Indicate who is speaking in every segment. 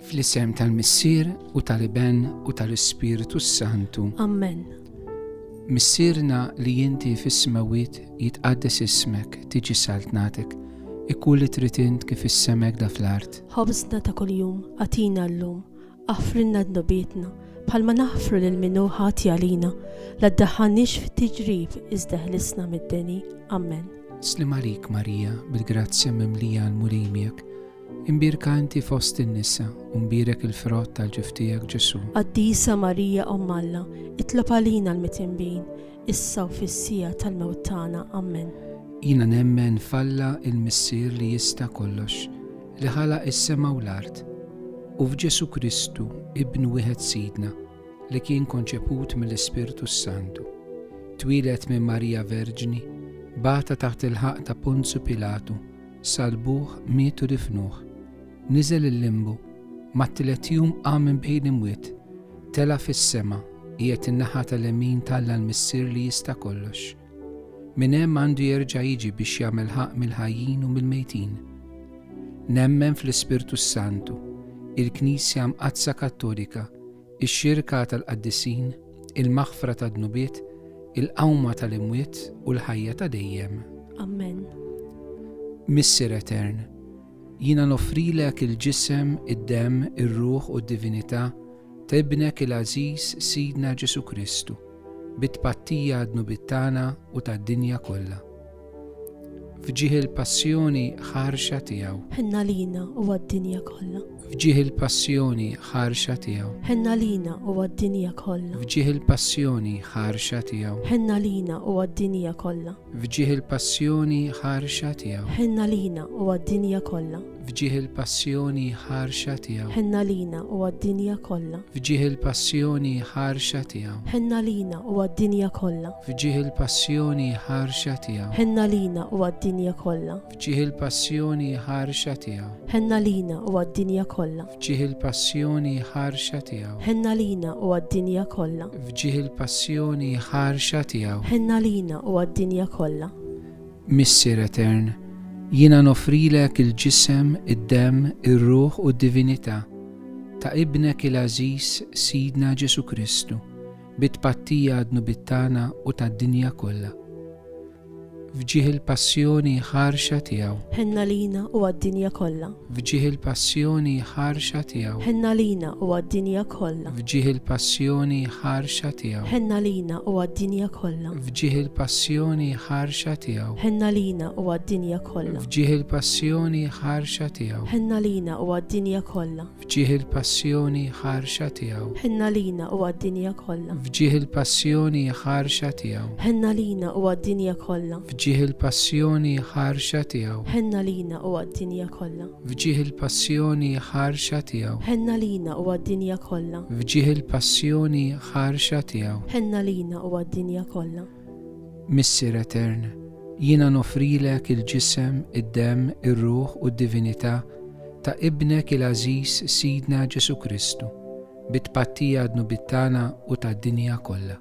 Speaker 1: fl-isem tal-Missir u tal-Iben u tal-Ispiritu Santu.
Speaker 2: Amen.
Speaker 1: Missirna li jinti fis-smawit jitqaddes ismek tiġi saltnatek, ikkulli tritint kif is-semek da fl-art.
Speaker 2: Ħobżna ta' kuljum, għatina l-lum, għafrinna d-nobietna, bħalma naħfru l-minu ħati għalina, la d-daħanix fit-tiġrib izdeħlisna mid-deni. Amen.
Speaker 1: Slim għalik Marija bil-grazzja mimlija għal-mulimjek, imbirka inti fost in-nisa, umbirek il-frott tal-ġiftijak Ġesu.
Speaker 2: Addisa Marija Ommalla, itlob għalina l-mitimbin, issa u fissija tal-mewt tagħna. Amen.
Speaker 1: Jina nemmen falla il-missir li jista kollox, li ħala is-sema u l-art, u f'Ġesu Kristu, ibnu wieħed sidna, li kien konċeput mill-Ispirtu Santu. Twilet minn Marija Verġni, bata taħt il-ħaq ta' Ponzu Pilatu, salbuħ mietu rifnuħ, nizel il-limbu, ma' t-tlet jum għamen bejn imwiet, tela fis-sema, jiet in-naħa tal-emin tal missier li jista kollox. Minn hemm għandu jerġa' jiġi biex jagħmel ħaq mill-ħajjin u mill-mejtin. Nemmen fl-Ispirtu Santu, il-Knisja mqazza Kattolika, ix-xirka tal-qaddisin, il-maħfra tad-nubiet, il-qawma tal-imwiet u l-ħajja ta' dejjem.
Speaker 2: Amen.
Speaker 1: Missir Etern, jina nofrilek il-ġisem, id-dem, ir-ruħ u d-divinità ta' ibnek il-Aziz Sidna Ġesu Kristu, bit-pattija għadnu bit-tana u tad-dinja kollha. Fġieħ il-passjoni ħarxa tiegħu,
Speaker 2: Ħenna lina u għad-dinja kollha.
Speaker 1: fġieħ il-passjoni ħarxa tiegħu,
Speaker 2: Ħenna lina u għad-dinja kollha.
Speaker 1: fġieħ il-passjoni ħarxa tiegħu,
Speaker 2: Ħenna lina u għad-dinja kollha.
Speaker 1: fġieħ il-passjoni ħarxa tiegħu,
Speaker 2: Ħenna lina u għad-dinja kollha.
Speaker 1: fġieħ il-passjoni ħarxa tiegħu,
Speaker 2: Ħenna lina u għad-dinja kollha.
Speaker 1: fġieħ il-passjoni ħarxa tiegħu,
Speaker 2: Ħenna lina u għad-dinja kollha.
Speaker 1: fġieħ il-passjoni ħarxa tiegħu,
Speaker 2: Ħenna lina u għad-dinja kollha.
Speaker 1: fġieħ il-passjoni ħarxa tiegħu,
Speaker 2: Ħenna lina u għad-dinja kollha.
Speaker 1: fġieħ il-passjoni ħarxa tiegħu.
Speaker 2: Ħenna lina u għad-dinja kollha.
Speaker 1: fġieħ il-passjoni ħarxa tiegħu.
Speaker 2: Ħenna lina u għad-dinja kollha.
Speaker 1: Missir Etern, jina nofrilek il-ġisem, id-dem, ir-ruħ u d-divinità ta' ibnek il-Aziz Sidna Ġesu Kristu, bit-pattija għadnu bit-tana u ta' dinja kollha. Fġieħ il-passjoni ħarxa tiegħu,
Speaker 2: Ħenna lina u għad-dinja kollha.
Speaker 1: fġieħ il-passjoni ħarxa tiegħu,
Speaker 2: Ħenna lina u għad-dinja kollha.
Speaker 1: fġieħ il-passjoni ħarxa tiegħu,
Speaker 2: Ħenna lina u għad-dinja kollha.
Speaker 1: fġieħ il-passjoni ħarxa tiegħu.
Speaker 2: Ħenna lina u għad-dinja kollha.
Speaker 1: Fġieħ il-passjoni ħarxa tiegħu,
Speaker 2: Ħenna lina u għad-dinja kollha.
Speaker 1: fġieħ il-passjoni ħarxa tiegħu,
Speaker 2: Ħenna lina u għad-dinja kollha.
Speaker 1: fġieħ il-passjoni ħarxa tiegħu,
Speaker 2: Ħenna lina u għad-dinja kollha.
Speaker 1: fġieħ il-passjoni ħarxa tiegħu,
Speaker 2: Ħenna lina u għad-dinja kollha.
Speaker 1: fġieħ il-passjoni ħarxa tiegħu,
Speaker 2: Ħenna lina u għad-dinja kollha.
Speaker 1: fġieħ il-passjoni ħarxa tiegħu.
Speaker 2: Ħenna lina u għad-dinja kollha.
Speaker 1: Missir Etern, jina nofrilek il-ġisem, id-dem, ir-ruħ u d-divinità ta' ibnek il-Aziz Sidna Ġesu Kristu, bit-pattija għadnu bit-tana u ta' dinja kollha.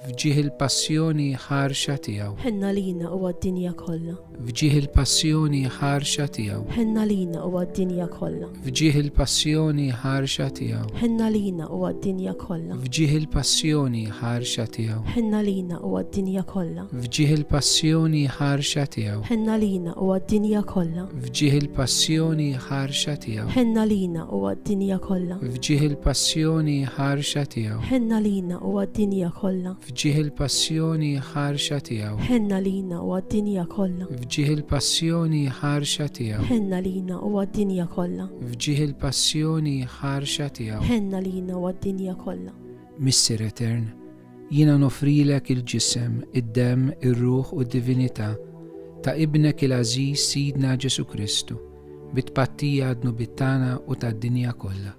Speaker 1: Fġieħ il-passjoni ħarxa tiegħu,
Speaker 2: Ħenna lina u għad-dinja kollha.
Speaker 1: fġieħ il-passjoni ħarxa tiegħu,
Speaker 2: Ħenna lina u għad-dinja kollha.
Speaker 1: fġieħ il-passjoni ħarxa tiegħu,
Speaker 2: Ħenna lina u għad-dinja kollha.
Speaker 1: fġieħ il-passjoni ħarxa tiegħu,
Speaker 2: Ħenna lina u għad-dinja kollha.
Speaker 1: fġieħ il-passjoni ħarxa tiegħu,
Speaker 2: Ħenna lina u għad-dinja kollha.
Speaker 1: fġieħ il-passjoni ħarxa tiegħu.
Speaker 2: Ħenna lina u għad-dinja kollha.
Speaker 1: Fġieħ il-passjoni ħarxa tiegħu,
Speaker 2: Ħenna lina u għad-dinja kollha.
Speaker 1: fġieħ il-passjoni ħarxa tiegħu,
Speaker 2: Ħenna lina u għad-dinja kollha.
Speaker 1: fġieħ il-passjoni ħarxa tiegħu,
Speaker 2: Ħenna lina u għad-dinja kollha.
Speaker 1: fġieħ il-passjoni ħarxa tiegħu.
Speaker 2: Ħenna lina u għad-dinja kollha.
Speaker 1: Missir Etern, jina nofrilek il-ġisem, id-dem, ir-ruħ u d-divinità ta' ibnek il-Aziz Sidna Ġesu Kristu, bit-pattija għadnu bit-tana u tad dinja kollha.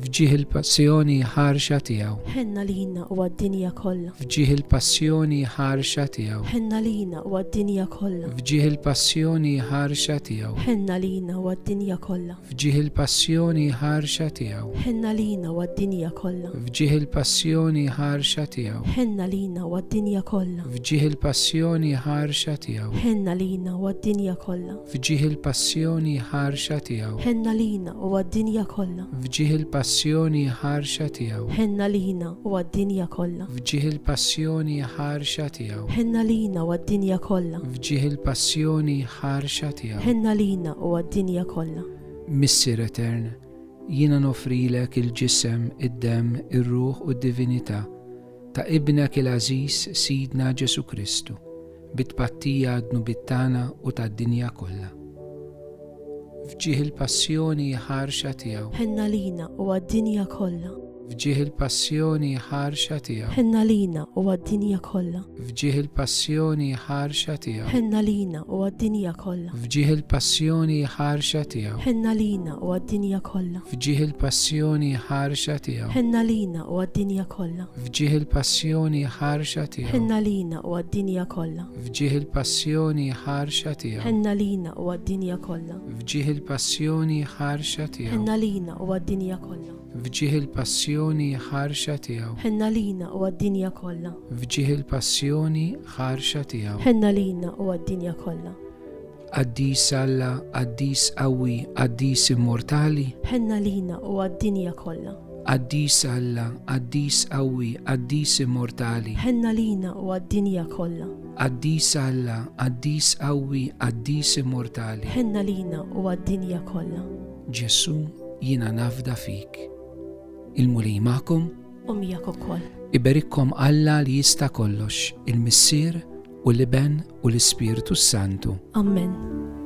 Speaker 1: fġieħ il-passjoni ħarxa tiegħu,
Speaker 2: ħenna lina u għad-dinja kollha.
Speaker 1: fġieħ il-passjoni ħarxa tiegħu,
Speaker 2: ħenna lina u għad-dinja kollha.
Speaker 1: fġieħ il-passjoni ħarxa tiegħu,
Speaker 2: ħenna lina u għad-dinja kollha.
Speaker 1: fġieħ il-passjoni ħarxa tiegħu,
Speaker 2: Ħenna lina u għad-dinja kollha.
Speaker 1: fġieħ il-passjoni ħarxa tiegħu,
Speaker 2: Ħenna lina u għad-dinja kollha.
Speaker 1: fġieħ il-passjoni ħarxa tiegħu,
Speaker 2: Ħenna lina u għad-dinja kollha.
Speaker 1: fġieħ il-passjoni ħarxa tiegħu,
Speaker 2: Ħenna lina u għad-dinja kollha.
Speaker 1: fġieħ il-passjoni ħarxa tiegħu,
Speaker 2: Ħenna lina u għad-dinja kollha.
Speaker 1: fġieħ il-passjoni ħarxa tiegħu,
Speaker 2: Ħenna lina u għad-dinja kollha.
Speaker 1: fġieħ il-passjoni ħarxa tiegħu.
Speaker 2: Ħenna lina u għad-dinja kollha.
Speaker 1: Missir Etern, jina nofrilek il-ġisem, id-dem, ir-ruħ u d-divinità ta' ibnek il-Aziz Sidna Ġesu Kristu, bit-pattija għadnu bit-tana u ta' dinja kollha. Fġieħ il-passjoni ħarxa tiegħu,
Speaker 2: Ħenna lina u għad-dinja kollha.
Speaker 1: fġieħ il-passjoni ħarxa tiegħu,
Speaker 2: Ħenna lina u għad-dinja kollha.
Speaker 1: fġieħ il-passjoni ħarxa tiegħu,
Speaker 2: Ħenna lina u għad-dinja kollha.
Speaker 1: fġieħ il-passjoni ħarxa tiegħu,
Speaker 2: Ħenna lina u għad-dinja kollha.
Speaker 1: fġieħ il-passjoni ħarxa tiegħu,
Speaker 2: Ħenna lina u għad-dinja kollha.
Speaker 1: fġieħ il-passjoni ħarxa tiegħu.
Speaker 2: Ħenna lina u għad-dinja kollha.
Speaker 1: Fġieħ il-passjoni ħarxa tiegħu.
Speaker 2: Ħenna lina u għad-dinja kollha.
Speaker 1: Fġieħ il-passjoni ħarxa tiegħu.
Speaker 2: Ħenna lina u għad-dinja kollha.
Speaker 1: Fġieħ il-passjoni ħarxa tiegħu.
Speaker 2: Ħenna lina u għad-dinja kollha.
Speaker 1: Fġieħ il-passjoni ħarxa tiegħu.
Speaker 2: Ħenna lina u għad-dinja kollha.
Speaker 1: Addis Alla, addis qawwi, addis immortali.
Speaker 2: Ħenna lina u għad-dinja kollha.
Speaker 1: Addis Alla, addis qawwi, addis immortali.
Speaker 2: Ħenna lina u għad-dinja kollha.
Speaker 1: Addis Alla, addis qawwi, addis immortali.
Speaker 2: Ħenna lina u għad-dinja kollha.
Speaker 1: Ġesu, jiena nafda fik. Il-mulej ma'kom?
Speaker 2: U miegħek ukoll.
Speaker 1: Iberikkom Alla li jista kollox, il-Missir u l-Iben u l-Ispirtu Santu.
Speaker 2: Amen.